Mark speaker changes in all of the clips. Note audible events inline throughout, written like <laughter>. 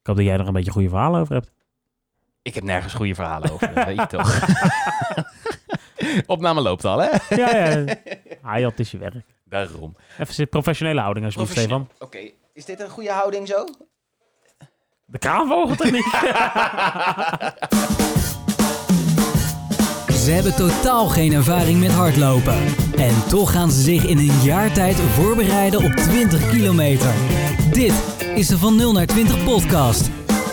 Speaker 1: Ik hoop dat jij er een beetje goede verhalen over hebt.
Speaker 2: Ik heb nergens goede verhalen over, dat weet je toch? <laughs> Opname loopt al, hè?
Speaker 1: Ja,
Speaker 2: <laughs>
Speaker 1: ja. Hayat is je werk.
Speaker 2: Daarom.
Speaker 1: Even zit professionele houding alsjeblieft, Stefan.
Speaker 2: Oké, is dit een goede houding zo?
Speaker 1: De
Speaker 2: <laughs>
Speaker 1: kraanvogeltechniek.
Speaker 3: Ze hebben totaal geen ervaring met hardlopen. En toch gaan ze zich in een jaar tijd voorbereiden op 20 kilometer. Dit is de Van 0 naar 20 podcast.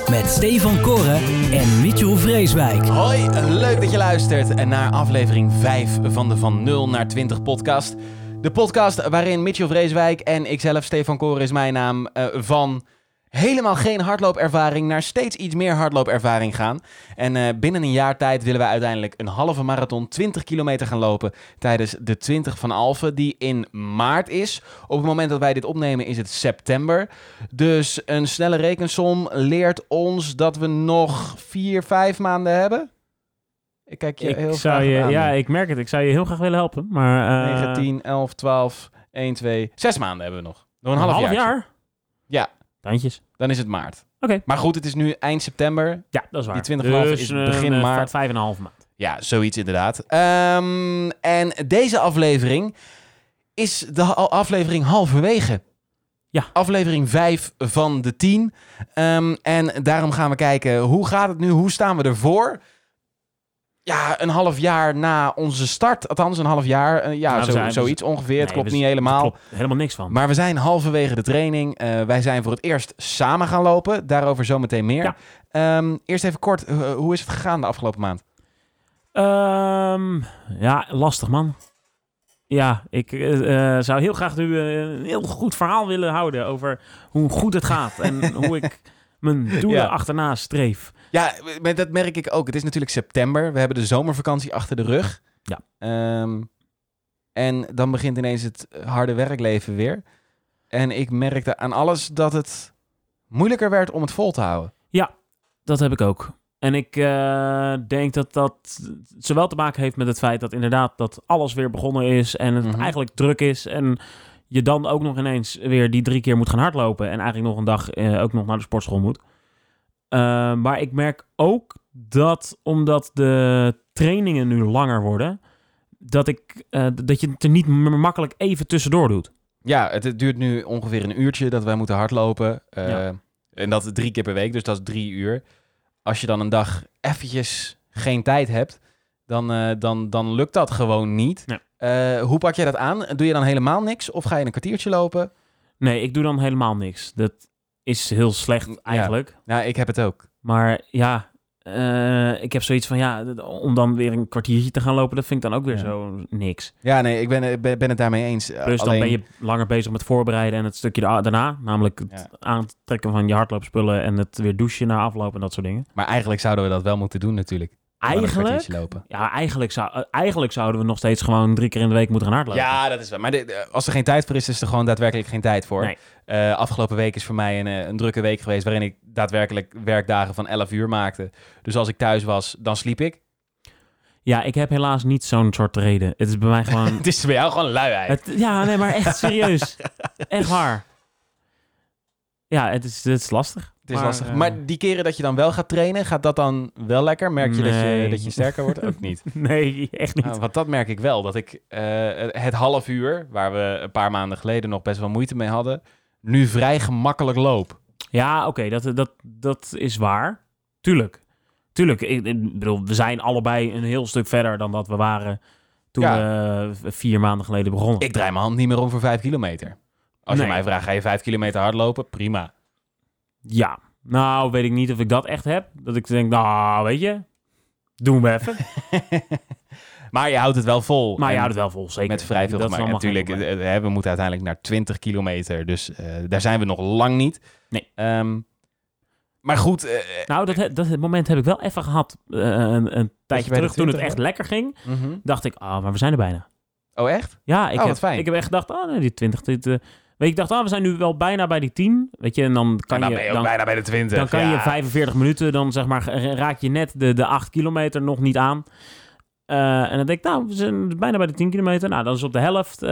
Speaker 3: Met Stefan Koren en Mitchell Vreeswijk.
Speaker 2: Hoi, leuk dat je luistert naar aflevering 5 van de Van 0 naar 20 podcast. De podcast waarin Mitchell Vreeswijk en ikzelf, Stefan Koren is mijn naam, eh, van helemaal geen hardloopervaring naar steeds iets meer hardloopervaring gaan. En eh, binnen een jaar tijd willen wij uiteindelijk een halve marathon 20 kilometer gaan lopen tijdens de 20 van Alphen, die in maart is. Op het moment dat wij dit opnemen is het september. Dus een snelle rekensom leert ons dat we nog 4, 5 maanden hebben. Ik kijk je heel
Speaker 1: ik zou
Speaker 2: graag
Speaker 1: je,
Speaker 2: aan.
Speaker 1: ja, ik merk het. Ik zou je heel graag willen helpen, maar... eh,
Speaker 2: 9, 10, 11, 12, 1, 2, 6 maanden hebben we nog. Nog een,
Speaker 1: een
Speaker 2: half,
Speaker 1: half
Speaker 2: jaar.
Speaker 1: jaar?
Speaker 2: Ja.
Speaker 1: Tandjes.
Speaker 2: Dan is het maart.
Speaker 1: Oké.
Speaker 2: Maar goed, het is nu eind september.
Speaker 1: Ja, dat is waar.
Speaker 2: Die 20 half
Speaker 1: Dus
Speaker 2: is
Speaker 1: een,
Speaker 2: begin
Speaker 1: eh,
Speaker 2: maart.
Speaker 1: Vijf en een half maand.
Speaker 2: Ja, zoiets inderdaad. Ehm, en deze aflevering is de ha- aflevering halverwege.
Speaker 1: Ja.
Speaker 2: Aflevering 5 van de 10. Ehm, en daarom gaan we kijken, hoe gaat het nu? Hoe staan we ervoor? Ja, een half jaar na onze start. Althans, een half jaar. eh, ja,
Speaker 1: Nou, we
Speaker 2: zo,
Speaker 1: zijn- we
Speaker 2: zoiets ongeveer. het
Speaker 1: Nee,
Speaker 2: klopt
Speaker 1: we-
Speaker 2: niet
Speaker 1: Daar
Speaker 2: helemaal.
Speaker 1: klopt helemaal niks van.
Speaker 2: Maar we zijn halverwege de training. Eh, wij zijn voor het eerst samen gaan lopen. Daarover zometeen meer.
Speaker 1: Ja.
Speaker 2: Ehm, eerst even kort, eh, hoe is het gegaan de afgelopen maand?
Speaker 1: Ehm, ja, lastig man. Ja, ik eh, eh, zou heel graag nu eh, een heel goed verhaal willen houden over hoe goed het gaat en hoe ik mijn doelen
Speaker 2: Ja.
Speaker 1: achterna streef.
Speaker 2: Ja, maar dat merk ik ook. Het is natuurlijk september. We hebben de zomervakantie achter de rug.
Speaker 1: Ja.
Speaker 2: Ehm, en dan begint ineens het harde werkleven weer. En ik merkte aan alles dat het moeilijker werd om het vol te houden.
Speaker 1: Dat heb ik ook. En ik eh, denk dat dat zowel te maken heeft met het feit dat inderdaad dat alles weer begonnen is en het
Speaker 2: Mhm.
Speaker 1: eigenlijk druk is en je dan ook nog ineens weer die drie keer moet gaan hardlopen en eigenlijk nog een dag eh, ook nog naar de sportschool moet. Eh, maar ik merk ook dat omdat de trainingen nu langer worden, dat, ik, eh, dat je het er niet m- makkelijk even tussendoor doet.
Speaker 2: Ja, het, het duurt nu ongeveer een uurtje dat wij moeten hardlopen. Eh,
Speaker 1: Ja.
Speaker 2: En dat drie keer per week, dus dat is drie uur. Als je dan een dag eventjes geen tijd hebt, dan, eh, dan, dan lukt dat gewoon niet.
Speaker 1: Nee.
Speaker 2: Eh, hoe pak jij dat aan? Doe je dan helemaal niks? Of ga je een kwartiertje lopen?
Speaker 1: Nee, ik doe dan helemaal niks. Dat is heel slecht eigenlijk.
Speaker 2: Nou, ik heb het ook.
Speaker 1: Maar ja, eh, ik heb zoiets van ja, d- om dan weer een kwartiertje te gaan lopen, dat vind ik dan ook weer
Speaker 2: Ja.
Speaker 1: zo niks.
Speaker 2: Ja, nee, ik ben, ik ben, ben het daarmee eens. Eh,
Speaker 1: Plus
Speaker 2: alleen-
Speaker 1: dan ben je langer bezig met voorbereiden en het stukje da- daarna, namelijk het
Speaker 2: Ja.
Speaker 1: aantrekken van je hardloopspullen en het weer douchen na afloop en dat soort dingen.
Speaker 2: Maar eigenlijk zouden we dat wel moeten doen natuurlijk. Gewoon een
Speaker 1: Eigenlijk,
Speaker 2: kwartiertje lopen.
Speaker 1: ja, eigenlijk, zou, eh, eigenlijk zouden we nog steeds gewoon drie keer in de week moeten gaan hardlopen.
Speaker 2: Ja, dat is wel. Maar de- de- als er geen tijd voor is, is er gewoon daadwerkelijk geen tijd voor.
Speaker 1: Nee.
Speaker 2: Eh, afgelopen week is voor mij een, eh, een drukke week geweest waarin ik daadwerkelijk werkdagen van 11 uur maakte. Dus als ik thuis was, dan sliep ik. <laughs>
Speaker 1: ja, ik heb helaas niet zo'n soort reden. Het is bij mij
Speaker 2: <laughs>
Speaker 1: gewoon
Speaker 2: Het is bij jou gewoon luiheid.
Speaker 1: Het- ja, nee, maar echt
Speaker 2: <laughs>
Speaker 1: serieus. echt waar. Ja, het is, het is lastig.
Speaker 2: Het is
Speaker 1: maar,
Speaker 2: lastig.
Speaker 1: eh,
Speaker 2: Maar die keren dat je dan wel gaat trainen, gaat dat dan wel lekker? Merk je, dat, je
Speaker 1: Nee.
Speaker 2: dat je sterker wordt? Ook niet.
Speaker 1: Nee, echt niet.
Speaker 2: Ah, want dat merk ik wel. Dat ik eh, het half uur, waar we een paar maanden geleden nog best wel moeite mee hadden, nu vrij gemakkelijk loop.
Speaker 1: Ja, oké, dat, dat, dat is waar. Tuurlijk. Tuurlijk. Ik, ik bedoel, we zijn allebei een heel stuk verder dan dat we waren toen
Speaker 2: Ja.
Speaker 1: we eh, vier maanden geleden begonnen.
Speaker 2: Ik draai mijn hand niet meer om voor vijf kilometer. Als je
Speaker 1: Nee.
Speaker 2: mij vraagt, ga je vijf kilometer hardlopen? Prima.
Speaker 1: Ja. Nou, weet ik niet of ik dat echt heb. Dat ik denk, nou, weet je, doen we
Speaker 2: <laughs>
Speaker 1: even.
Speaker 2: maar je houdt het wel vol.
Speaker 1: Maar je
Speaker 2: En
Speaker 1: houdt het wel vol, zeker.
Speaker 2: Met vrij veel
Speaker 1: Dat is
Speaker 2: gemaakt.
Speaker 1: allemaal
Speaker 2: En
Speaker 1: geen
Speaker 2: Natuurlijk,
Speaker 1: probleem.
Speaker 2: eh, eh, we moeten uiteindelijk naar 20 kilometer. Dus eh, daar zijn we nog lang niet.
Speaker 1: Nee.
Speaker 2: Ehm, maar goed. eh,
Speaker 1: Nou, dat, he- dat moment heb ik wel even gehad. eh, een, een tijdje
Speaker 2: bij de
Speaker 1: terug, toen het
Speaker 2: 20
Speaker 1: echt lekker ging,
Speaker 2: mhm.
Speaker 1: dacht ik, ah, maar we zijn er bijna.
Speaker 2: Oh, echt?
Speaker 1: Ja, ik,
Speaker 2: Oh, wat
Speaker 1: heb,
Speaker 2: fijn.
Speaker 1: ik heb echt gedacht, ah, nee, die 20. Dit, eh, weet je, ik dacht, ah, we zijn nu wel bijna bij die 10. Weet je, en dan kan
Speaker 2: En dan
Speaker 1: je.
Speaker 2: ben je ook
Speaker 1: dan,
Speaker 2: bijna bij de 20.
Speaker 1: dan kan
Speaker 2: ja.
Speaker 1: je 45 minuten, dan zeg maar, ra- raak je net de, de 8 kilometer nog niet aan. Eh, en dan denk ik, nou, we zijn bijna bij de 10 kilometer. Nou, dan is op de helft. eh,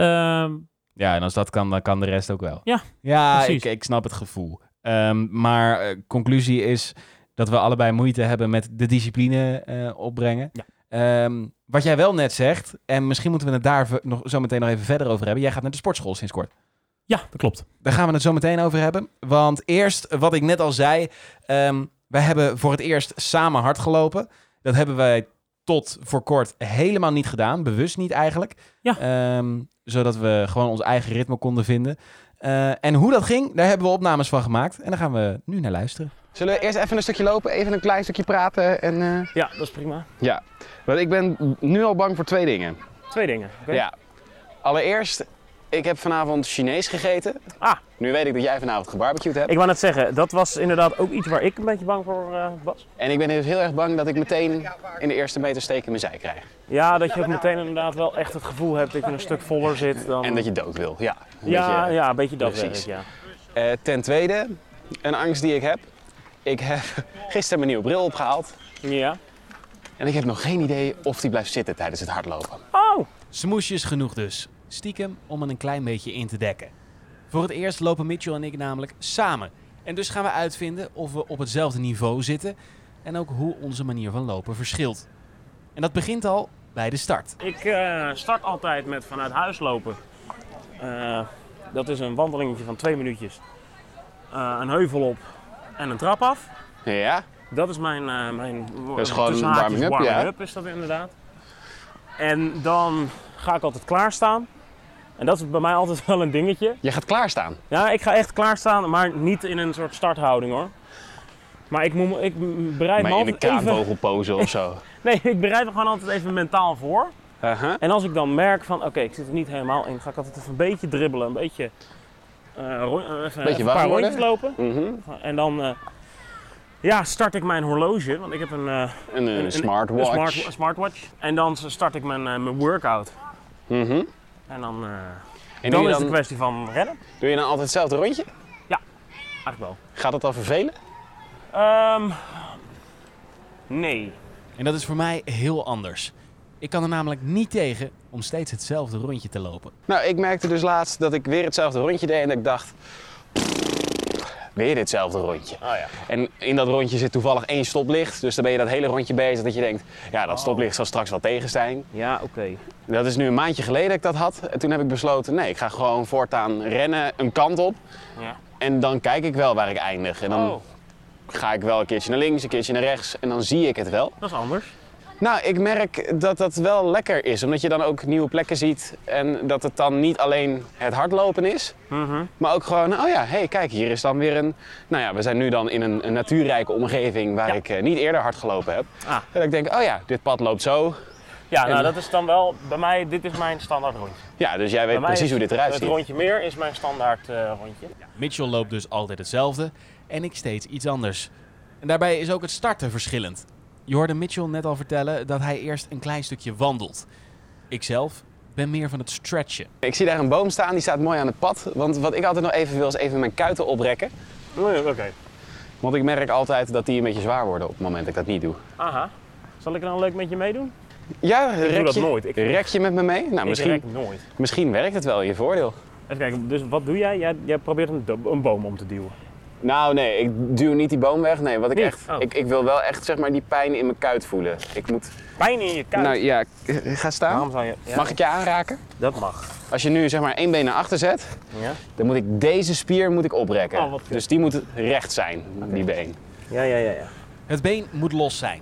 Speaker 2: Ja, en als dat kan, dan kan de rest ook wel.
Speaker 1: Ja,
Speaker 2: ja ik,
Speaker 1: precies.
Speaker 2: ik snap het gevoel. Ehm, maar eh, conclusie is dat we allebei moeite hebben met de discipline eh, opbrengen.
Speaker 4: Ja.
Speaker 2: Ehm, wat jij wel net zegt, en misschien moeten we het daar v- nog, zo meteen nog even verder over hebben. Jij gaat naar de sportschool sinds kort.
Speaker 4: Ja, dat klopt.
Speaker 2: Daar gaan we het zo meteen over hebben. Want eerst, wat ik net al zei, ehm wij hebben voor het eerst samen hard gelopen. Dat hebben wij tot voor kort helemaal niet gedaan, bewust niet eigenlijk.
Speaker 4: Ja.
Speaker 2: Ehm, zodat we gewoon ons eigen ritme konden vinden. Eh, en hoe dat ging, daar hebben we opnames van gemaakt. En daar gaan we nu naar luisteren.
Speaker 5: Zullen we eerst even een stukje lopen, even een klein stukje praten en... eh,
Speaker 1: Ja, dat is prima.
Speaker 5: Ja, want ik ben nu al bang voor twee dingen.
Speaker 1: Twee dingen. oké?
Speaker 5: Ja. Allereerst, ik heb vanavond Chinees gegeten.
Speaker 1: Ah.
Speaker 5: Nu weet ik dat jij vanavond gebarbecued hebt.
Speaker 1: Ik wou net zeggen, dat was inderdaad ook iets waar ik een beetje bang voor eh, was.
Speaker 5: En ik ben dus heel erg bang dat ik meteen in de eerste meter steek in mijn zij krijg.
Speaker 1: Ja, dat je ook meteen inderdaad wel echt het gevoel hebt dat je een stuk voller zit dan...
Speaker 5: En dat je dood wil, ja. Een
Speaker 1: ja,
Speaker 5: beetje-
Speaker 1: ja, een beetje dat
Speaker 5: Precies.
Speaker 1: werk, ja.
Speaker 5: Eh, ten tweede, een angst die ik heb. Ik heb <laughs> gisteren mijn nieuwe bril opgehaald.
Speaker 1: Ja.
Speaker 5: En ik heb nog geen idee of die blijft zitten tijdens het hardlopen.
Speaker 1: Oh!
Speaker 2: Smoesjes genoeg dus. Stiekem om het een klein beetje in te dekken. Voor het eerst lopen Mitchell en ik namelijk samen. En dus gaan we uitvinden of we op hetzelfde niveau zitten. En ook hoe onze manier van lopen verschilt. En dat begint al bij de start.
Speaker 1: Ik eh, start altijd met vanuit huis lopen. Eh, dat is een wandelingetje van twee minuutjes. Eh, een heuvel op en een trap af.
Speaker 5: Ja?
Speaker 1: Dat is mijn, eh mijn dat
Speaker 5: is gewoon warming-up, ja.
Speaker 1: is dat inderdaad. En dan ga ik altijd klaarstaan. En dat is bij mij altijd <laughs> wel een dingetje.
Speaker 5: Je gaat klaarstaan.
Speaker 1: Ja, ik ga echt klaarstaan, maar niet in een soort starthouding hoor. Maar ik, moet, ik bereid me
Speaker 5: Maar in een
Speaker 1: altijd even... <laughs>
Speaker 5: kaanvogelpose of zo.
Speaker 1: Nee, ik bereid me gewoon altijd even mentaal voor.
Speaker 5: Aha.
Speaker 1: En als ik dan merk van, oké, ik zit er niet helemaal in, ga ik altijd even een beetje dribbelen, een beetje, eh, ro- eh, even- even een
Speaker 5: warm
Speaker 1: paar
Speaker 5: worden.
Speaker 1: rondjes lopen.
Speaker 5: Mhm.
Speaker 1: En dan eh, ja, start ik mijn horloge, want ik heb een, eh,
Speaker 5: En een,
Speaker 1: Een- een-
Speaker 5: smartwatch.
Speaker 1: Een, smart- een smartwatch. En dan start ik mijn, eh, mijn workout.
Speaker 5: Mhm.
Speaker 1: En dan, eh, dan is
Speaker 5: En doe, je
Speaker 1: het een
Speaker 5: dan,
Speaker 1: kwestie van rennen.
Speaker 5: doe je dan altijd hetzelfde rondje?
Speaker 1: Eigenlijk wel.
Speaker 5: Gaat dat dan vervelen?
Speaker 1: Ehm, nee.
Speaker 2: En dat is voor mij heel anders. Ik kan er namelijk niet tegen om steeds hetzelfde rondje te lopen.
Speaker 5: Nou, ik merkte dus laatst dat ik weer hetzelfde rondje deed en dat ik dacht... Weer ditzelfde rondje. En in dat rondje zit toevallig één stoplicht. Dus dan ben je dat hele rondje bezig dat je denkt... Ja, dat stoplicht zal straks wel tegen zijn.
Speaker 1: Ja, oké.
Speaker 5: Dat is nu een maandje geleden dat ik dat had. En toen heb ik besloten, nee, ik ga gewoon voortaan rennen een kant op.
Speaker 1: Ja.
Speaker 5: En dan kijk ik wel waar ik eindig. En dan
Speaker 1: Oh,
Speaker 5: ga ik wel een keertje naar links, een keertje naar rechts. En dan zie ik het wel.
Speaker 1: dat is anders.
Speaker 5: Nou, ik merk dat dat wel lekker is, omdat je dan ook nieuwe plekken ziet en dat het dan niet alleen het hardlopen is,
Speaker 1: Mhm.
Speaker 5: maar ook gewoon, oh ja, hé, hey, kijk, hier is dan weer een... Nou ja, we zijn nu dan in een, een natuurrijke omgeving waar ik eh, niet eerder hard gelopen heb.
Speaker 1: Ah.
Speaker 5: En dat ik denk, oh ja, dit pad loopt zo.
Speaker 1: Ja, nou
Speaker 5: En-
Speaker 1: dat is dan wel, bij mij, dit is mijn standaard rondje.
Speaker 5: Ja, dus jij
Speaker 1: Bij
Speaker 5: weet
Speaker 1: mij
Speaker 5: precies
Speaker 1: is
Speaker 5: hoe dit eruit
Speaker 1: Het
Speaker 5: ziet.
Speaker 1: rondje meer is mijn standaard eh, rondje.
Speaker 2: Mitchell loopt dus altijd hetzelfde en ik steeds iets anders. En daarbij is ook het starten verschillend. Je hoorde Mitchell net al vertellen dat hij eerst een klein stukje wandelt. Ikzelf ben meer van het stretchen.
Speaker 5: Ik zie daar een boom staan, die staat mooi aan het pad. Want wat ik altijd nog even wil, is even mijn kuiten oprekken.
Speaker 1: Oh, ja, Oké.
Speaker 5: Want ik merk altijd dat die een beetje zwaar worden op het moment dat ik dat niet doe.
Speaker 1: Aha. Zal ik dan leuk met je meedoen?
Speaker 5: Ja, rek,
Speaker 1: dat
Speaker 5: je,
Speaker 1: nooit. Ik-
Speaker 5: rek je met me mee? Nou,
Speaker 1: Ik
Speaker 5: misschien,
Speaker 1: rek nooit.
Speaker 5: misschien werkt het wel in je voordeel.
Speaker 1: Even kijken, dus wat doe jij? Jij, jij probeert een, do- een boom om te duwen.
Speaker 5: Nou, nee, ik duw niet die boom weg. Nee, wat ik
Speaker 1: Niet?
Speaker 5: echt.
Speaker 1: Oh.
Speaker 5: Ik, ik wil wel echt zeg maar die pijn in mijn kuit voelen. Ik moet.
Speaker 1: Pijn in je kuit.
Speaker 5: Nou ja, k- ga
Speaker 1: Waarom
Speaker 5: staan.
Speaker 1: zou je... Ja,
Speaker 5: Mag ik je aanraken?
Speaker 1: Dat mag.
Speaker 5: Als je nu zeg maar één been naar achter zet,
Speaker 1: Ja?
Speaker 5: dan moet ik deze spier moet ik oprekken.
Speaker 1: Oh, wat kut.
Speaker 5: dus die moet recht zijn, die been.
Speaker 1: Ja, ja, ja. ja.
Speaker 2: Het been moet los zijn.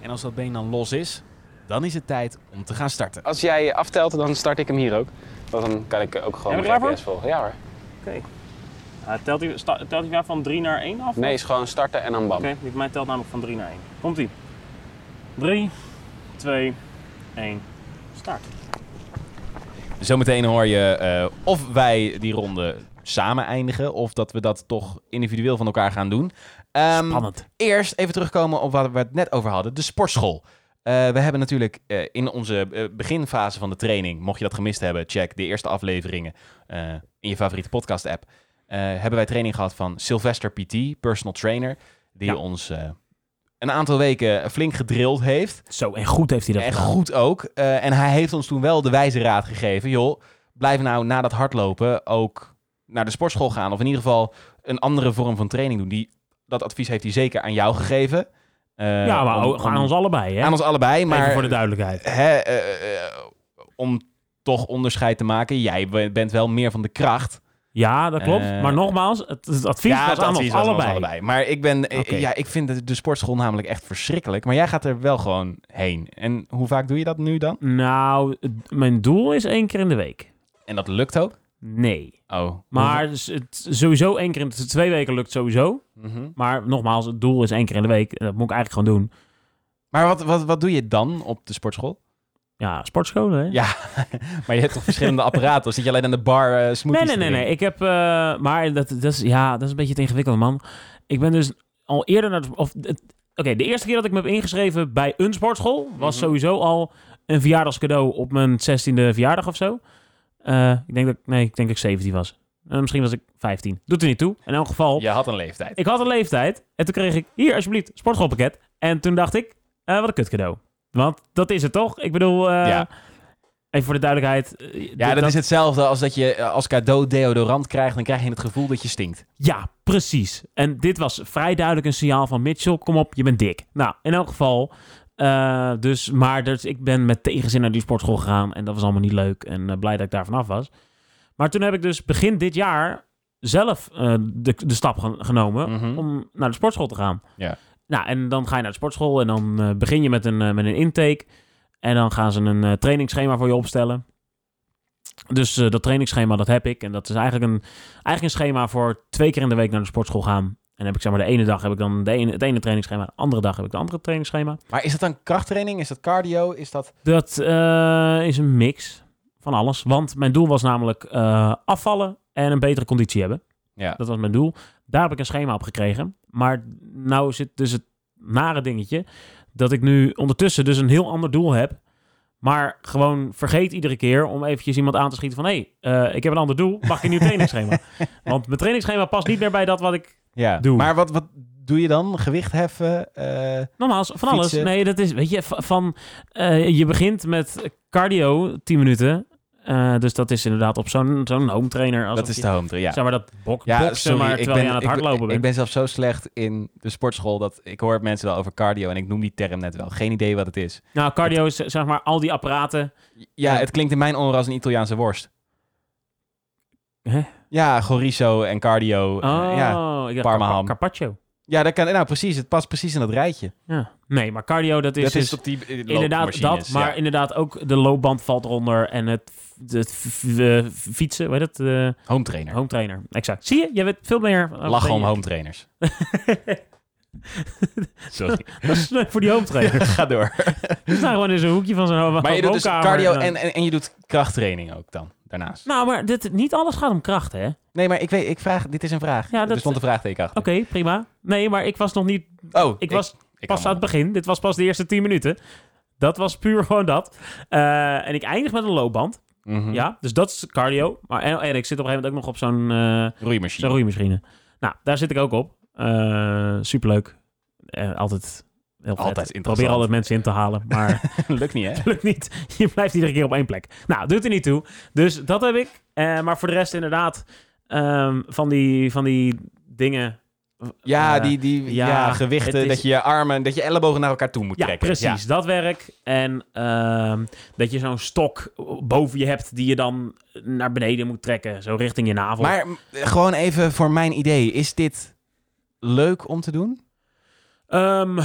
Speaker 2: En als dat been dan los is, dan is het tijd om te gaan starten.
Speaker 5: Als jij aftelt, dan start ik hem hier ook. Want dan kan ik ook gewoon
Speaker 1: Ben je er klaar
Speaker 5: mijn GPS volgen. Ja hoor.
Speaker 1: Oké. Ah, telt, hij, sta- telt hij daar van 3 naar 1 af?
Speaker 5: Nee, is gewoon starten en dan bam.
Speaker 1: Oké, die van mij telt namelijk van 3 naar 1. Komt ie. 3, 2, 1. Start.
Speaker 2: Zometeen hoor je eh, of wij die ronde samen eindigen of dat we dat toch individueel van elkaar gaan doen. Ehm,
Speaker 4: Spannend.
Speaker 2: Eerst even terugkomen op waar we het net over hadden, de sportschool. Eh, we hebben natuurlijk eh, in onze eh, beginfase van de training, mocht je dat gemist hebben, check de eerste afleveringen eh, in je favoriete podcast-app. eh, hebben wij training gehad van Sylvester PT, personal trainer, die
Speaker 4: Ja.
Speaker 2: ons eh, een aantal weken flink gedrild heeft.
Speaker 4: Zo, en goed heeft hij dat
Speaker 2: En
Speaker 4: gedaan.
Speaker 2: goed ook. Eh, en hij heeft ons toen wel de wijze raad gegeven. Joh, blijf nou na dat hardlopen ook naar de sportschool gaan. Of in ieder geval eh, een andere vorm van training doen. Die, dat advies heeft hij zeker aan jou gegeven. Eh,
Speaker 4: ja, maar
Speaker 2: om-
Speaker 4: ook aan
Speaker 2: om-
Speaker 4: ons allebei, hè?
Speaker 2: aan ons allebei. Maar
Speaker 4: Even voor de duidelijkheid.
Speaker 2: hè, eh, eh, om toch onderscheid te maken. Jij be- bent wel meer van de kracht.
Speaker 4: Ja, dat klopt.
Speaker 2: Eh,
Speaker 4: maar nogmaals, het, het advies was
Speaker 2: dat
Speaker 4: aan
Speaker 2: advies
Speaker 4: ons
Speaker 2: was aan
Speaker 4: allebei.
Speaker 2: Maar ik ben, eh,
Speaker 4: Oké.
Speaker 2: ja, ik vind de, de sportschool namelijk echt verschrikkelijk. Maar jij gaat er wel gewoon heen. En hoe vaak doe je dat nu dan?
Speaker 4: Nou, het- mijn doel is één keer in de week.
Speaker 2: En dat lukt ook?
Speaker 4: Nee.
Speaker 2: Oh.
Speaker 4: Maar s- het, sowieso één keer in de twee weken lukt sowieso.
Speaker 2: Mhm.
Speaker 4: Maar nogmaals, het doel is één keer in de week. En dat moet ik eigenlijk gewoon doen.
Speaker 2: Maar wat, wat, wat doe je dan op de sportschool?
Speaker 4: Ja, sportscholen, hè?
Speaker 2: Ja, maar je hebt toch verschillende apparaten? Of zit je alleen aan de bar eh,
Speaker 4: nee,
Speaker 2: smoothies
Speaker 4: nee,
Speaker 2: te
Speaker 4: nee,
Speaker 2: drinken?
Speaker 4: nee. Ik heb... eh, maar dat, dat is... Ja, dat is een beetje het ingewikkelde, man. Ik ben dus al eerder naar... de- Of, het- Oké, de eerste keer dat ik me heb ingeschreven bij een sportschool... was
Speaker 2: Mhm.
Speaker 4: sowieso al een verjaardagscadeau op mijn 16e verjaardag of zo. Eh, ik denk dat... Nee, ik denk dat ik 17 was. Eh, misschien was ik 15. Doet er niet toe. In elk geval...
Speaker 2: Je had een leeftijd.
Speaker 4: Ik had een leeftijd en toen kreeg ik hier alsjeblieft sportschoolpakket. En toen dacht ik, eh, wat een kut cadeau. Want dat is het toch? Ik bedoel, eh,
Speaker 2: Ja.
Speaker 4: even voor de duidelijkheid. eh, d-
Speaker 2: Ja, dat, is hetzelfde als dat je eh, als cadeau deodorant krijgt. Dan krijg je het gevoel dat je stinkt.
Speaker 4: Ja, precies. En dit was vrij duidelijk een signaal van Mitchell, kom op, je bent dik. Nou, in elk geval. eh, dus, maar dus, ik ben met tegenzin naar die sportschool gegaan en dat was allemaal niet leuk. En eh, blij dat ik daar vanaf was. Maar toen heb ik dus begin dit jaar zelf eh, de, de stap gen- genomen
Speaker 2: Mhm.
Speaker 4: om naar de sportschool te gaan.
Speaker 2: Ja.
Speaker 4: Nou, en dan ga je naar de sportschool en dan eh, begin je met een, eh, met een intake. En dan gaan ze een eh, trainingsschema voor je opstellen. Dus eh, dat trainingsschema, dat heb ik. En dat is eigenlijk een, eigenlijk een schema voor twee keer in de week naar de sportschool gaan. En dan heb ik zeg maar de ene dag heb ik dan de ene, het ene trainingsschema. De andere dag heb ik de andere trainingsschema.
Speaker 2: Maar is dat dan krachttraining? Is dat cardio? Is dat...
Speaker 4: Dat eh, is een mix van alles. Want mijn doel was namelijk eh, afvallen en een betere conditie hebben.
Speaker 2: Ja.
Speaker 4: Dat was mijn doel. Daar heb ik een schema op gekregen. Maar nou zit dus het nare dingetje dat ik nu ondertussen dus een heel ander doel heb. Maar gewoon vergeet iedere keer om eventjes iemand aan te schieten van... hé, hey, eh, ik heb een ander doel, mag ik een nieuw trainingsschema? Want mijn trainingsschema past niet meer bij dat wat ik...
Speaker 2: Ja.
Speaker 4: Doe.
Speaker 2: Maar wat, wat doe je dan? Gewicht heffen? eh,
Speaker 4: Nogmaals, van alles.
Speaker 2: Fietsen.
Speaker 4: Nee, dat is, weet je, va- van... eh, je begint met cardio, 10 minuten. Eh, dus dat is inderdaad op zo'n zo'n home trainer. Als
Speaker 2: dat is de home trainer, ja.
Speaker 4: Zeg maar dat bok,
Speaker 2: Ja,
Speaker 4: boksen,
Speaker 2: sorry,
Speaker 4: maar terwijl je aan het
Speaker 2: ik
Speaker 4: hardlopen
Speaker 2: ik
Speaker 4: bent.
Speaker 2: ben zelf zo slecht in de sportschool dat ik hoor mensen wel over cardio en ik noem die term net wel. Geen idee wat het is.
Speaker 4: Nou, cardio is zeg maar al die apparaten.
Speaker 2: Ja, het klinkt in mijn oren als een Italiaanse worst.
Speaker 4: Hè?
Speaker 2: Ja, chorizo en cardio. eh,
Speaker 4: Oh,
Speaker 2: Ja.
Speaker 4: ik dacht
Speaker 2: parmaham.
Speaker 4: carpa- carpaccio.
Speaker 2: ja, dat kan. Nou, precies. Het past precies in dat rijtje.
Speaker 4: Ja. Nee, maar cardio, dat is,
Speaker 2: dat
Speaker 4: dus
Speaker 2: is op die eh,
Speaker 4: inderdaad
Speaker 2: loopmachines,
Speaker 4: dat. Maar
Speaker 2: ja.
Speaker 4: inderdaad ook de loopband valt eronder. En het, het f- eh, fietsen, hoe heet dat? eh
Speaker 2: home trainer.
Speaker 4: home trainer. Exact. Zie je? Je weet veel meer.
Speaker 2: Lachen om home trainers. Sorry.
Speaker 4: <laughs>
Speaker 2: <laughs>
Speaker 4: Dat is leuk voor die home trainer.
Speaker 2: Ga door.
Speaker 4: Die <laughs> staan gewoon in zo'n hoekje van zijn
Speaker 2: Maar je doet dus
Speaker 4: Oh, woonkamer
Speaker 2: cardio
Speaker 4: dan-
Speaker 2: en, en, en je doet krachttraining ook dan, daarnaast.
Speaker 4: Nou, maar dit, niet alles gaat om kracht, hè? Oké,
Speaker 2: Nee, maar ik weet, ik vraag, dit is een vraag.
Speaker 4: Ja,
Speaker 2: Er
Speaker 4: dat-
Speaker 2: stond een vraagteken achter.
Speaker 4: prima. Nee, maar ik was nog niet...
Speaker 2: Oh,
Speaker 4: Ik was
Speaker 2: ik
Speaker 4: pas
Speaker 2: kan
Speaker 4: aan het begin. Dit was pas de eerste 10 minuten. Dat was puur <laughs> gewoon dat. Eh, en ik eindig met een loopband.
Speaker 2: wel. Mhm.
Speaker 4: Ja, dus dat is cardio. Maar, en, en ik zit op een gegeven moment ook nog op zo'n eh,
Speaker 2: Roeimachine.
Speaker 4: zo'n roeimachine. Nou, daar zit ik ook op. Eh, superleuk. Eh, altijd heel vet.
Speaker 2: Altijd
Speaker 4: Probeer
Speaker 2: interessant.
Speaker 4: altijd mensen in te halen,
Speaker 2: <laughs>
Speaker 4: maar
Speaker 2: Lukt niet, hè?
Speaker 4: lukt niet. Je blijft iedere keer op één plek. Nou, doet er niet toe. Dus dat heb ik. Eh, maar voor de rest inderdaad ehm, van, die, van die dingen...
Speaker 2: Ja,
Speaker 4: Eh,
Speaker 2: die, die ja,
Speaker 4: ja,
Speaker 2: gewichten,
Speaker 4: het is-
Speaker 2: dat je je armen, dat je ellebogen naar elkaar toe moet
Speaker 4: Ja,
Speaker 2: trekken.
Speaker 4: precies. Dat werk. En ehm, dat je zo'n stok boven je hebt die je dan naar beneden moet trekken. Zo richting je navel.
Speaker 2: Maar m, eh, gewoon even voor mijn idee, is dit leuk om te doen?
Speaker 4: Ehm,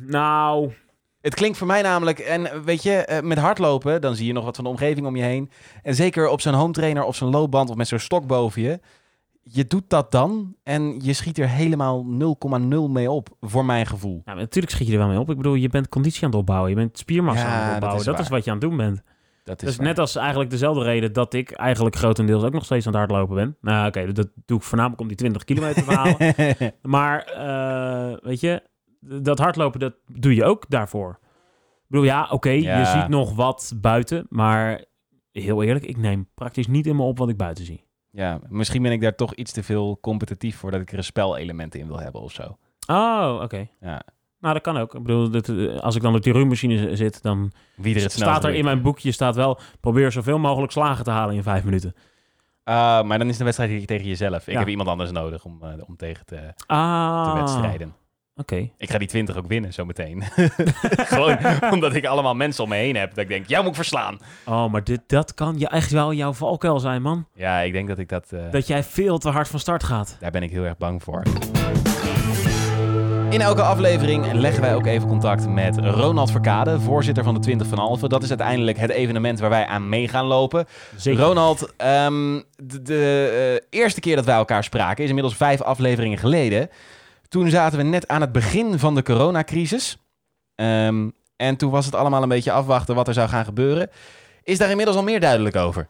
Speaker 4: nou...
Speaker 2: Het klinkt voor mij namelijk, en eh, weet je, eh, met hardlopen, dan zie je nog wat van de omgeving om je heen. En zeker op zo'n home trainer of zo'n loopband of met zo'n stok boven je. Je doet dat dan en je schiet er helemaal 0,0 mee op, voor mijn gevoel.
Speaker 4: Ja, maar natuurlijk schiet je er wel mee op. Ik bedoel, je bent conditie aan het opbouwen. Je bent spiermassa
Speaker 2: Ja,
Speaker 4: aan het
Speaker 2: dat
Speaker 4: opbouwen.
Speaker 2: is
Speaker 4: Dat is,
Speaker 2: waar.
Speaker 4: wat je aan het doen bent.
Speaker 2: Dat
Speaker 4: Dat is Dus net als eigenlijk dezelfde reden dat ik eigenlijk grotendeels ook nog steeds aan het hardlopen ben. Nou, oké, dat doe ik voornamelijk om die 20 kilometer te halen. <laughs> Maar, eh, weet je, dat hardlopen, dat doe je ook daarvoor. Ik bedoel, ja, oké, je
Speaker 2: Ja.
Speaker 4: ziet nog wat buiten. Maar heel eerlijk, ik neem praktisch niet in me op wat ik buiten zie.
Speaker 2: ja, misschien ben ik daar toch iets te veel competitief voor dat ik er spelelementen in wil hebben of zo.
Speaker 4: Oh, oké.
Speaker 2: Ja.
Speaker 4: Nou, dat kan ook. Ik bedoel, dat, eh, als ik dan op die ruimmachine zit, dan
Speaker 2: Wie er het snelst
Speaker 4: staat er
Speaker 2: doet.
Speaker 4: in mijn boekje staat wel: probeer zoveel mogelijk slagen te halen in vijf minuten.
Speaker 2: Eh, maar dan is de wedstrijd hier tegen jezelf. Ik
Speaker 4: Ja.
Speaker 2: heb iemand anders nodig om, eh, om tegen te, te
Speaker 4: Ah,
Speaker 2: wedstrijden.
Speaker 4: Oké.
Speaker 2: Ik ga die 20 ook winnen zometeen. <laughs> Gewoon omdat ik allemaal mensen om me heen heb. Dat ik denk, jou moet ik verslaan.
Speaker 4: Oh, maar dit, dat kan je echt wel jouw valkuil zijn, man.
Speaker 2: Ja, ik denk dat ik dat... eh,
Speaker 4: Dat jij veel te hard van start gaat.
Speaker 2: Daar ben ik heel erg bang voor. In elke aflevering leggen wij ook even contact met Ronald Verkade, voorzitter van de 20 van Alphen. Dat is uiteindelijk het evenement waar wij aan mee gaan lopen.
Speaker 4: Zeker.
Speaker 2: Ronald, ehm, de, de, eh, eerste keer dat wij elkaar spraken is inmiddels vijf afleveringen geleden. Toen zaten we net aan het begin van de coronacrisis. Ehm, en toen was het allemaal een beetje afwachten wat er zou gaan gebeuren. Is daar inmiddels al meer duidelijk over?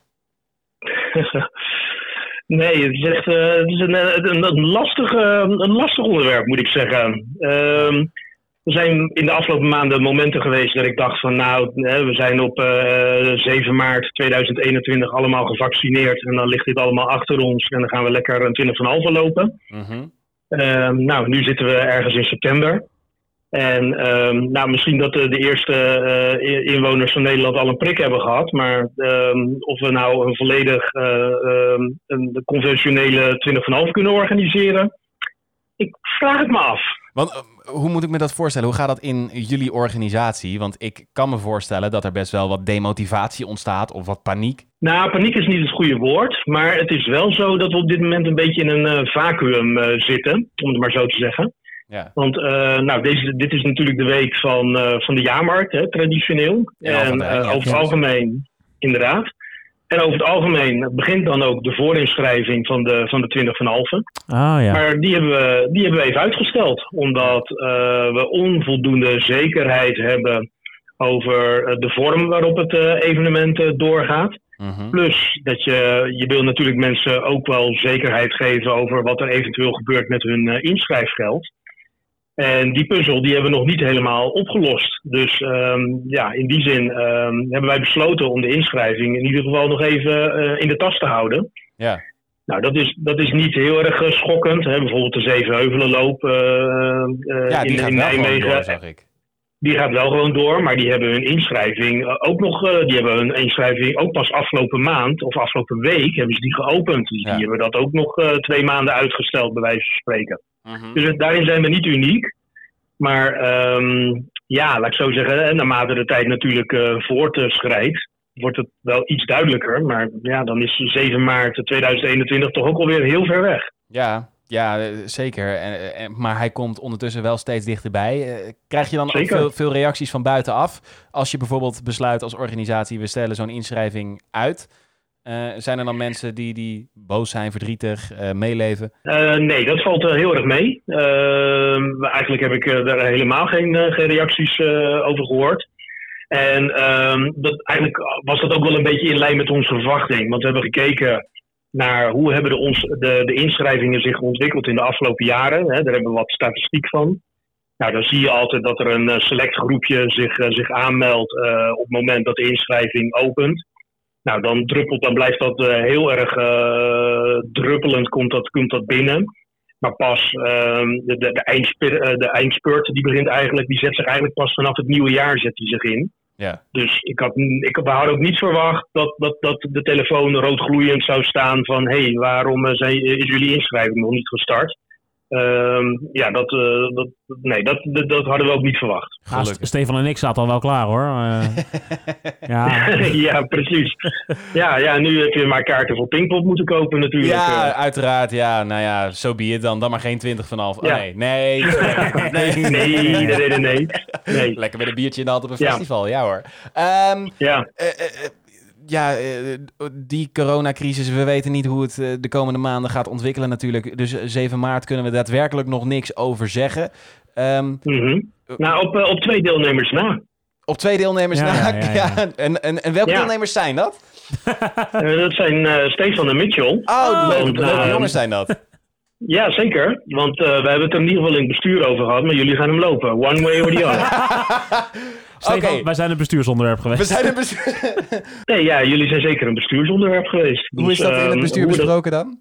Speaker 6: <laughs> Nee, het is echt eh, het is een, een, een, lastig, eh, een lastig onderwerp, moet ik zeggen. Ehm, er zijn in de afgelopen maanden momenten geweest dat ik dacht van nou, hè, we zijn op eh, 7 maart 2021 allemaal gevaccineerd en dan ligt dit allemaal achter ons en dan gaan we lekker een 20 van halve lopen. Ehm, nou, nu zitten we ergens in september. En ehm, nou, misschien dat de, de eerste eh, i- inwoners van Nederland al een prik hebben gehad. Maar ehm, of we nou een volledig eh, ehm, een conventionele 20 van half kunnen organiseren. Ik vraag het me af.
Speaker 2: Want eh, hoe moet ik me dat voorstellen? Hoe gaat dat in jullie organisatie? Want ik kan me voorstellen dat er best wel wat demotivatie ontstaat of wat paniek.
Speaker 6: Nou, paniek is niet het goede woord. Maar het is wel zo dat we op dit moment een beetje in een eh, vacuüm eh, zitten. Om het maar zo te zeggen.
Speaker 2: Ja.
Speaker 6: Want eh, nou, deze, dit is natuurlijk de week van, eh, van de jaarmarkt, hè, traditioneel.
Speaker 2: En al van
Speaker 6: En
Speaker 2: de-
Speaker 6: eh,
Speaker 2: ja,
Speaker 6: over het
Speaker 2: ja.
Speaker 6: algemeen, inderdaad. En over het algemeen begint dan ook de voorinschrijving van de, van de 20 van halve.
Speaker 4: Ah, ja.
Speaker 6: Maar die hebben, we, die hebben we even uitgesteld. Omdat eh, we onvoldoende zekerheid hebben over eh, de vorm waarop het eh, evenement eh, doorgaat.
Speaker 2: Mhm.
Speaker 6: Plus dat je, je wil natuurlijk mensen ook wel zekerheid geven over wat er eventueel gebeurt met hun eh, inschrijfgeld. En die puzzel die hebben we nog niet helemaal opgelost. Dus ehm, ja, in die zin ehm, hebben wij besloten om de inschrijving in ieder geval nog even eh, in de tas te houden.
Speaker 2: Ja.
Speaker 6: Nou, dat is, dat is niet heel erg eh, schokkend. Hè? Bijvoorbeeld de Zevenheuvelenloop eh, eh,
Speaker 2: ja, die
Speaker 6: in,
Speaker 2: gaat
Speaker 6: in
Speaker 2: wel gewoon
Speaker 6: Nijmegen
Speaker 2: door, zag ik.
Speaker 6: die gaat wel gewoon door, maar die hebben hun inschrijving eh, ook nog. eh, die hebben hun inschrijving ook pas afgelopen maand of afgelopen week hebben ze die geopend. Dus
Speaker 2: Ja.
Speaker 6: die hebben dat ook nog eh, twee maanden uitgesteld, bij wijze van spreken. Dus het- daarin zijn we niet uniek. Maar ehm, ja, laat ik zo zeggen, hè, naarmate de tijd natuurlijk eh voortschrijdt, wordt het wel iets duidelijker. Maar ja, dan is 7 maart 2021 toch ook alweer heel ver weg.
Speaker 2: Ja, ja eh, zeker. En, en- maar hij komt ondertussen wel steeds dichterbij. Eh, Krijg je dan ook
Speaker 6: Zeker.
Speaker 2: veel, veel reacties van buitenaf? Als je bijvoorbeeld besluit als organisatie, we stellen zo'n inschrijving uit. Eh, zijn er dan mensen die, die boos zijn, verdrietig, eh, meeleven?
Speaker 6: Eh, nee, dat valt eh, heel erg mee. Ehm, eigenlijk heb ik eh, daar helemaal geen, eh, geen reacties eh, over gehoord. En ehm, dat, eigenlijk was dat ook wel een beetje in lijn met onze verwachting. Want we hebben gekeken naar hoe hebben de, ons, de, de inschrijvingen zich ontwikkeld in de afgelopen jaren. Hè, daar hebben we wat statistiek van. Nou, dan zie je altijd dat er een eh, select groepje zich, eh, zich aanmeldt eh, op het moment dat de inschrijving opent. Nou, dan druppelt, dan blijft dat eh, heel erg eh, druppelend, komt dat, komt dat binnen. Maar pas ehm, de, de, de, eindspir- eh, de eindspurt, die begint eigenlijk, die zet zich eigenlijk pas vanaf het nieuwe jaar zet die zich in.
Speaker 2: Ja.
Speaker 6: Dus ik had, ik, we hadden ook niet verwacht dat, dat, dat de telefoon roodgloeiend zou staan van hé, hey, waarom eh, zijn, is jullie inschrijving nog niet gestart? Ehm, ja, dat, eh, dat, nee, dat, dat, dat hadden we ook niet verwacht.
Speaker 4: Ah,
Speaker 2: Gelukkig.
Speaker 4: St- Stefan en ik zaten al wel klaar, hoor.
Speaker 2: <laughs>
Speaker 4: Eh, ja.
Speaker 6: <laughs> ja, precies. Ja, ja, nu heb je maar kaarten voor Pinkpop moeten kopen natuurlijk. eh.
Speaker 2: Ja, uiteraard. Ja, nou ja, zo so be it dan. Dan maar geen 20 vanaf. Oh,
Speaker 6: Ja.
Speaker 2: nee,
Speaker 6: <laughs>
Speaker 2: nee, <laughs> nee,
Speaker 6: eh. Nee, nee, nee, nee, nee. Nee.
Speaker 2: Lekker met een biertje in de hand op een
Speaker 6: Ja.
Speaker 2: festival. Ja hoor. Ehm,
Speaker 6: Ja,
Speaker 2: eh, eh, eh, ja, eh, die coronacrisis, we weten niet hoe het eh, de komende maanden gaat ontwikkelen natuurlijk. Dus eh, 7 maart kunnen we daadwerkelijk nog niks over zeggen. Ehm,
Speaker 6: mhm. nou op, eh, op twee deelnemers na.
Speaker 2: op twee deelnemers
Speaker 4: Ja,
Speaker 2: na. <laughs>
Speaker 4: ja, ja, ja.
Speaker 2: En, en, en welke
Speaker 6: Ja.
Speaker 2: deelnemers zijn dat?
Speaker 6: Eh, dat zijn eh, Stefan en Mitchell.
Speaker 2: Oh, leuke,
Speaker 6: want,
Speaker 2: leuke
Speaker 6: eh,
Speaker 2: jongens zijn dat.
Speaker 6: Ja, zeker. Want eh, we hebben het er in ieder geval in het bestuur over gehad, maar jullie gaan hem lopen. One way or the
Speaker 2: <laughs>
Speaker 6: other.
Speaker 2: Oké,
Speaker 4: Stefan, wij zijn het bestuursonderwerp
Speaker 2: we
Speaker 4: geweest.
Speaker 2: zijn het
Speaker 6: <laughs>
Speaker 2: bestuur...
Speaker 6: Nee, ja, jullie zijn zeker een bestuursonderwerp geweest.
Speaker 2: Hoe is
Speaker 6: Dus,
Speaker 2: dat in
Speaker 6: ehm,
Speaker 2: het bestuur
Speaker 6: hoe dat-
Speaker 2: besproken dan?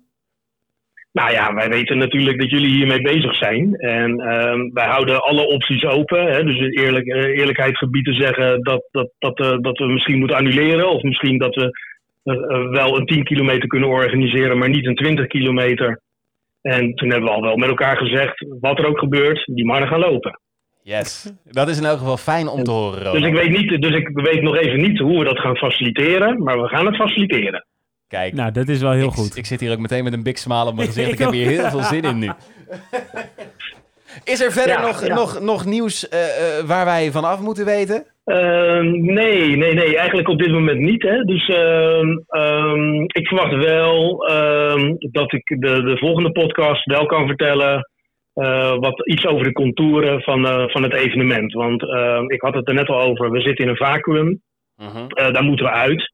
Speaker 6: Nou ja, wij weten natuurlijk dat jullie hiermee bezig zijn. En ehm, wij houden alle opties open. Hè? Dus in eerlijk, eh, eerlijkheid gebied te zeggen dat, dat, dat, eh, dat we misschien moeten annuleren. Of misschien dat we eh, eh, wel een 10 kilometer kunnen organiseren, maar niet een 20 kilometer. En toen hebben we al wel met elkaar gezegd, wat er ook gebeurt, die mannen gaan lopen.
Speaker 2: Yes. Dat is in elk geval fijn om te horen,
Speaker 6: Dus ik
Speaker 2: Roland.
Speaker 6: weet, niet, dus ik weet nog even niet hoe we dat gaan faciliteren, maar we gaan het faciliteren.
Speaker 2: Kijk,
Speaker 4: Nou, dat is wel heel
Speaker 2: ik,
Speaker 4: goed.
Speaker 2: Dus ik zit hier ook meteen met een big smile op mijn
Speaker 4: <laughs>
Speaker 2: gezicht.
Speaker 4: Ik
Speaker 2: Ik heb hier heel veel zin in nu. Is er verder
Speaker 6: Ja,
Speaker 2: nog,
Speaker 6: ja.
Speaker 2: Nog, nog nieuws eh, eh, waar wij vanaf moeten weten?
Speaker 6: Ehm, nee, nee, nee, eigenlijk op dit moment niet. Hè. Dus ehm, ehm, ik verwacht wel ehm, dat ik de, de volgende podcast wel kan vertellen eh, wat iets over de contouren van, eh, van het evenement. Want ehm, ik had het er net al over, we zitten in een vacuüm.
Speaker 2: Mhm.
Speaker 6: Eh, daar moeten we uit.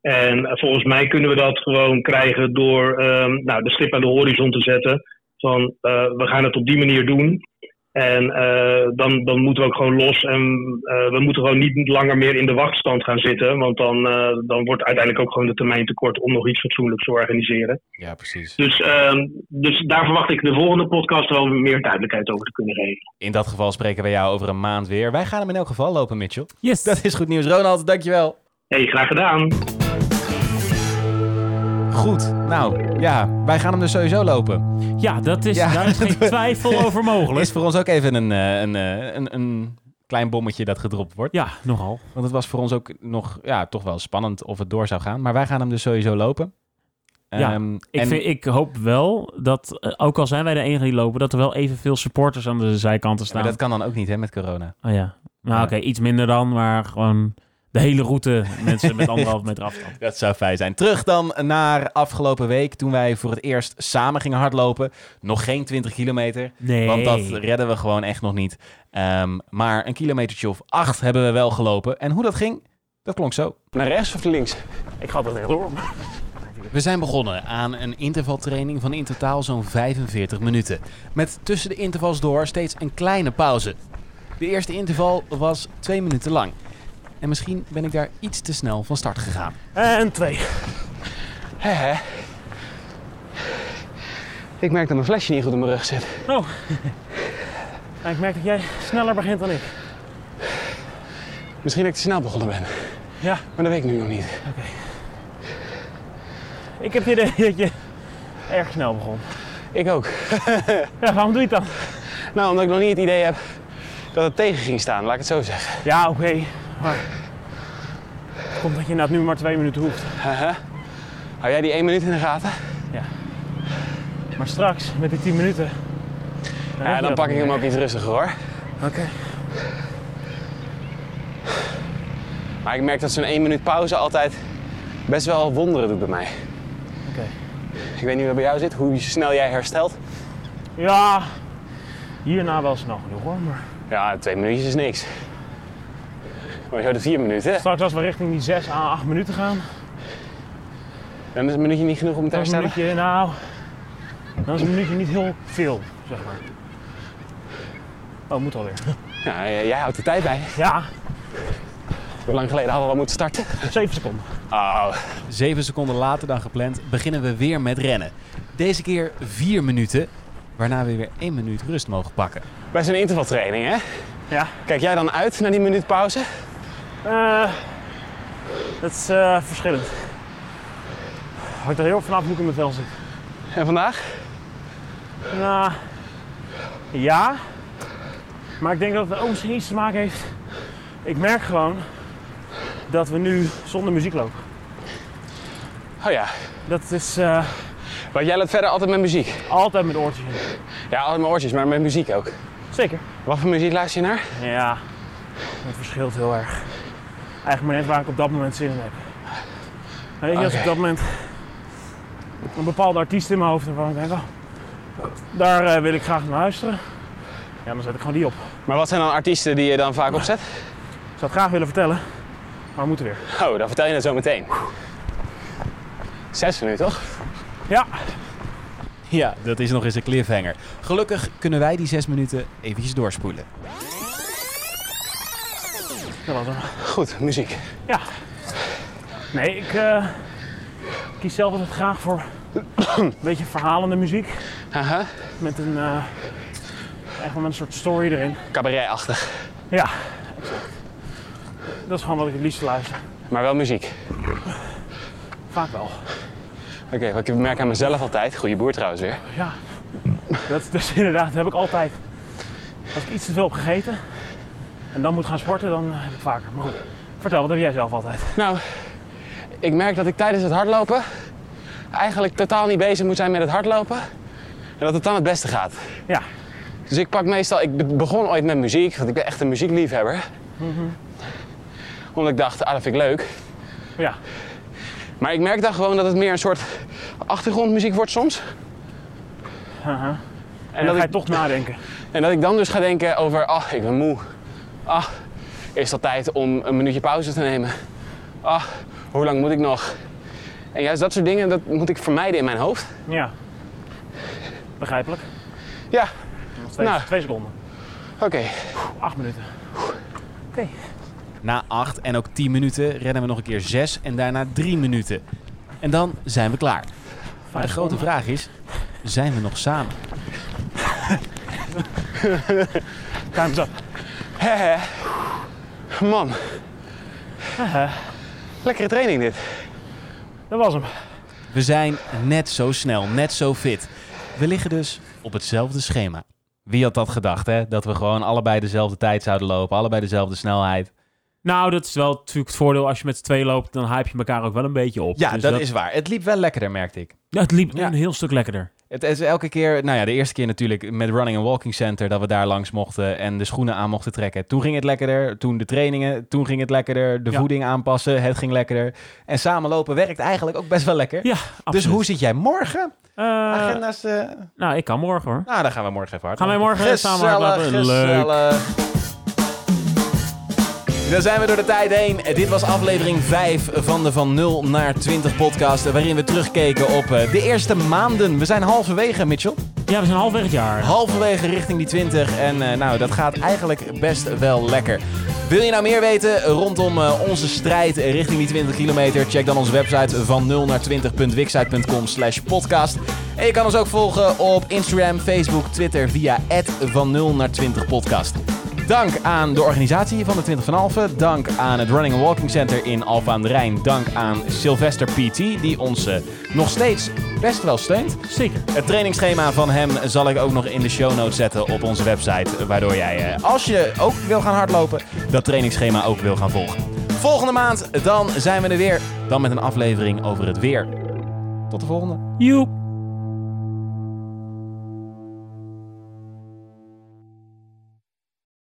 Speaker 6: En eh, volgens mij kunnen we dat gewoon krijgen door ehm, nou, de stip aan de horizon te zetten. Van eh, we gaan het op die manier doen. En eh, dan, dan moeten we ook gewoon los. En eh, we moeten gewoon niet langer meer in de wachtstand gaan zitten. Want dan, eh, dan wordt uiteindelijk ook gewoon de termijn tekort om nog iets fatsoenlijks te organiseren.
Speaker 2: Ja, precies.
Speaker 6: Dus, ehm, dus daar verwacht ik de volgende podcast wel meer duidelijkheid over te kunnen geven.
Speaker 2: In dat geval spreken we jou over een maand weer. Wij gaan hem in elk geval lopen, Mitchell.
Speaker 4: Yes.
Speaker 2: Dat is goed nieuws. Ronald, dankjewel.
Speaker 6: hey, graag gedaan.
Speaker 2: Goed. Nou, ja, wij gaan hem dus sowieso lopen.
Speaker 4: Ja, dat is,
Speaker 2: Ja.
Speaker 4: daar is
Speaker 2: <laughs>
Speaker 4: geen twijfel over mogelijk.
Speaker 2: Is voor ons ook even een, eh, een, eh, een, een klein bommetje dat gedropt wordt.
Speaker 4: Ja, nogal.
Speaker 2: Want het was voor ons ook nog, ja, toch wel spannend of het door zou gaan. Maar wij gaan hem dus sowieso lopen.
Speaker 4: Ja,
Speaker 2: Ehm,
Speaker 4: Ik,
Speaker 2: en
Speaker 4: vind, ik hoop wel dat, eh, ook al zijn wij de enige die lopen, dat er wel evenveel supporters aan de zijkanten
Speaker 2: maar
Speaker 4: staan.
Speaker 2: dat kan dan ook niet, hè, met corona.
Speaker 4: Oh ja. Nou,
Speaker 2: Ja.
Speaker 4: oké, iets minder dan, maar gewoon de hele route
Speaker 2: <laughs>
Speaker 4: mensen met anderhalf meter afstand.
Speaker 2: Dat zou fijn zijn. Terug dan naar afgelopen week toen wij voor het eerst samen gingen hardlopen. Nog geen 20 kilometer.
Speaker 4: Nee.
Speaker 2: Want dat redden we gewoon echt nog niet. Ehm, maar een kilometertje of acht hebben we wel gelopen. En hoe dat ging, dat klonk zo.
Speaker 5: Naar rechts of links?
Speaker 1: Ik ga er net door.
Speaker 2: We zijn begonnen aan een intervaltraining van in totaal zo'n 45 minuten. Met tussen de intervals door steeds een kleine pauze. De eerste interval was twee minuten lang. En misschien ben ik daar iets te snel van start gegaan.
Speaker 1: En twee.
Speaker 5: Hè, hè. Ik merk dat mijn flesje niet goed op mijn rug zit.
Speaker 1: En ik merk dat jij sneller begint dan ik.
Speaker 5: Misschien dat ik te snel begonnen ben.
Speaker 1: Ja.
Speaker 5: Maar dat weet ik nu nog niet.
Speaker 1: Ik heb je idee dat je erg snel begon.
Speaker 5: Ik ook.
Speaker 1: Ja, waarom doe je het dan?
Speaker 5: Nou, omdat ik nog niet het idee heb dat het tegen ging staan, laat ik het zo zeggen.
Speaker 1: Ja, oké. Maar het komt dat je het nu maar twee minuten hoeft.
Speaker 5: Hè, hè. Hou jij die één minuut in de gaten?
Speaker 1: Maar straks, met die 10 minuten. heb
Speaker 5: Ja,
Speaker 1: je
Speaker 5: dan
Speaker 1: dat
Speaker 5: pak ik
Speaker 1: niet
Speaker 5: hem
Speaker 1: meer.
Speaker 5: ook iets rustiger hoor.
Speaker 1: Oké.
Speaker 5: Maar ik merk dat zo'n 1 minuut pauze altijd best wel wonderen doet bij mij.
Speaker 1: Oké.
Speaker 5: Ik weet niet hoe dat bij jou zit, hoe snel jij herstelt.
Speaker 1: Ja, hierna wel snel genoeg hoor. Maar
Speaker 5: Ja, twee minuutjes is niks. Oh, Maar zo de vier minuten,
Speaker 1: straks als we richting die 6 à 8 minuten gaan,
Speaker 5: dan is een minuutje niet genoeg om te
Speaker 1: dan is een
Speaker 5: herstellen.
Speaker 1: minuutje, nou, dan is een minuutje niet heel veel, zeg maar. Oh, moet alweer.
Speaker 5: Ja, j- jij houdt de tijd bij.
Speaker 1: Ja,
Speaker 5: Hoe lang geleden hadden we al moeten starten?
Speaker 1: 7 seconden.
Speaker 5: Oh,
Speaker 2: Zeven seconden later dan gepland beginnen we weer met rennen. Deze keer vier minuten, waarna we weer één minuut rust mogen pakken.
Speaker 5: bij zo'n intervaltraining, hè?
Speaker 1: Ja.
Speaker 5: Kijk jij dan uit naar die minuut pauze?
Speaker 1: Eh, dat is eh, verschillend. Hangt er heel vanaf hoe ik in mijn vel zit.
Speaker 5: En vandaag?
Speaker 1: Nou, ja. Maar ik denk dat het ook misschien iets te maken heeft. Ik merk gewoon dat we nu zonder muziek lopen.
Speaker 5: Oh ja,
Speaker 1: Dat is eh,
Speaker 5: want jij laat verder altijd met muziek.
Speaker 1: altijd met oortjes in.
Speaker 5: Ja, altijd met oortjes, maar met muziek ook.
Speaker 1: Zeker.
Speaker 5: Wat voor muziek luister je naar?
Speaker 1: Ja, het verschilt heel erg. Eigenlijk maar net waar ik op dat moment zin in heb. Weet je, als ik
Speaker 5: Oké.
Speaker 1: op dat moment een bepaalde artiest in mijn hoofd heb waarvan ik denk, oh, daar eh, wil ik graag naar luisteren. Ja, dan zet ik gewoon die op.
Speaker 5: Maar wat zijn dan artiesten die je dan vaak opzet?
Speaker 1: Ik zou het graag willen vertellen, maar we moeten weer.
Speaker 5: <laughs> Oh, dan vertel je het zo meteen. Zes minuten, toch?
Speaker 1: Ja,
Speaker 2: Ja, dat is nog eens een cliffhanger. Gelukkig kunnen wij die zes minuten eventjes doorspoelen.
Speaker 1: dat was hem.
Speaker 5: Goed, muziek.
Speaker 1: Ja. Nee, ik eh, kies zelf altijd graag voor een beetje verhalende muziek.
Speaker 5: Haha,
Speaker 1: Met een, eh, echt wel met een soort story erin.
Speaker 5: cabaretachtig.
Speaker 1: Ja, exact. Dat is gewoon wat ik het liefst luister.
Speaker 5: Maar wel muziek.
Speaker 1: Vaak wel.
Speaker 5: Oké, wat ik merk aan mezelf altijd. Goede boer trouwens weer.
Speaker 1: Ja, dat, dat is <laughs> inderdaad, dat heb ik altijd. Als ik iets te veel heb gegeten en dan moet gaan sporten, dan heb ik vaker. Maar goed, vertel, wat heb jij zelf altijd?
Speaker 5: Nou, ik merk dat ik tijdens het hardlopen eigenlijk totaal niet bezig moet zijn met het hardlopen. En dat het dan het beste gaat.
Speaker 1: Ja,
Speaker 5: Dus ik pak meestal, ik be- begon ooit met muziek, want ik ben echt een muziekliefhebber.
Speaker 1: Mm-hmm.
Speaker 5: Omdat ik dacht, ah, dat vind ik leuk.
Speaker 1: ja,
Speaker 5: Maar ik merk dan gewoon dat het meer een soort achtergrondmuziek wordt soms.
Speaker 1: aha. en, dan
Speaker 5: En, dat
Speaker 1: ga
Speaker 5: ik,
Speaker 1: je toch nadenken.
Speaker 5: en dat ik dan dus ga denken over, ah, ik ben moe. Ah, is het al tijd om een minuutje pauze te nemen? Ah, hoe lang moet ik nog? En juist dat soort dingen, dat moet ik vermijden in mijn hoofd.
Speaker 1: Ja, begrijpelijk.
Speaker 5: Ja,
Speaker 1: Nog steeds
Speaker 2: Ah.
Speaker 5: Nou.
Speaker 1: twee seconden,
Speaker 5: oké.
Speaker 1: acht minuten.
Speaker 2: Na 8 en ook 10 minuten rennen we nog een keer 6 en daarna 3 minuten. En dan zijn we klaar. Maar de grote vraag is, zijn we nog samen?
Speaker 1: Time's up.
Speaker 5: Hè, hè. Man. Lekkere training dit.
Speaker 1: Dat was hem.
Speaker 2: We zijn net zo snel, net zo fit. We liggen dus op hetzelfde schema. Wie had dat gedacht, hè? Dat we gewoon allebei dezelfde tijd zouden lopen, allebei dezelfde snelheid.
Speaker 4: Nou, dat is wel natuurlijk het voordeel. Als je met z'n twee loopt, dan hype je elkaar ook wel een beetje op.
Speaker 2: Ja,
Speaker 4: Dus
Speaker 2: dat, is waar. Het liep wel lekkerder, merkte ik.
Speaker 4: Ja, het liep
Speaker 2: Ja.
Speaker 4: een heel stuk lekkerder.
Speaker 2: Het is elke keer, nou ja, de eerste keer natuurlijk met Running and Walking Center dat we daar langs mochten en de schoenen aan mochten trekken. Toen ging het lekkerder, toen de trainingen, toen ging het lekkerder, de
Speaker 4: Ja.
Speaker 2: voeding aanpassen, het ging lekkerder. En samen lopen werkt eigenlijk ook best wel lekker.
Speaker 4: Ja,
Speaker 2: dus
Speaker 4: absoluut.
Speaker 2: hoe zit jij morgen?
Speaker 4: Eh,
Speaker 2: Agenda's, eh,
Speaker 4: nou, ik kan morgen hoor.
Speaker 2: nou, dan gaan we morgen even hard.
Speaker 4: Gaan wij morgen samen hardlopen? Leuk.
Speaker 2: Leuk. Dan zijn we door de tijd heen. Dit was aflevering 5 van de Van 0 naar 20 podcast. Waarin we terugkeken op eh, de eerste maanden. We zijn halverwege, Mitchell.
Speaker 4: Ja, we zijn halverwege het jaar.
Speaker 2: Oh. Halverwege richting die 20. En eh, nou, dat gaat eigenlijk best wel lekker. Wil je nou meer weten rondom eh, onze strijd richting die 20 kilometer? Check dan onze website van 0 naar 20.wixsite.com slash podcast. En je kan ons ook volgen op Instagram, Facebook, Twitter via van 0 naar 20 podcast. Dank aan de organisatie van de 20 van Alphen. Dank aan het Running and Walking Center in Alphen aan de Rijn. Dank aan Sylvester PT, die ons eh, nog steeds best wel steunt.
Speaker 4: Zeker.
Speaker 2: Het trainingsschema van hem zal ik ook nog in de show notes zetten op onze website. Waardoor jij, eh, als je ook wil gaan hardlopen, dat trainingsschema ook wil gaan volgen. Volgende maand, dan zijn we er weer. Dan met een aflevering over het weer. Tot de volgende.
Speaker 4: Joep.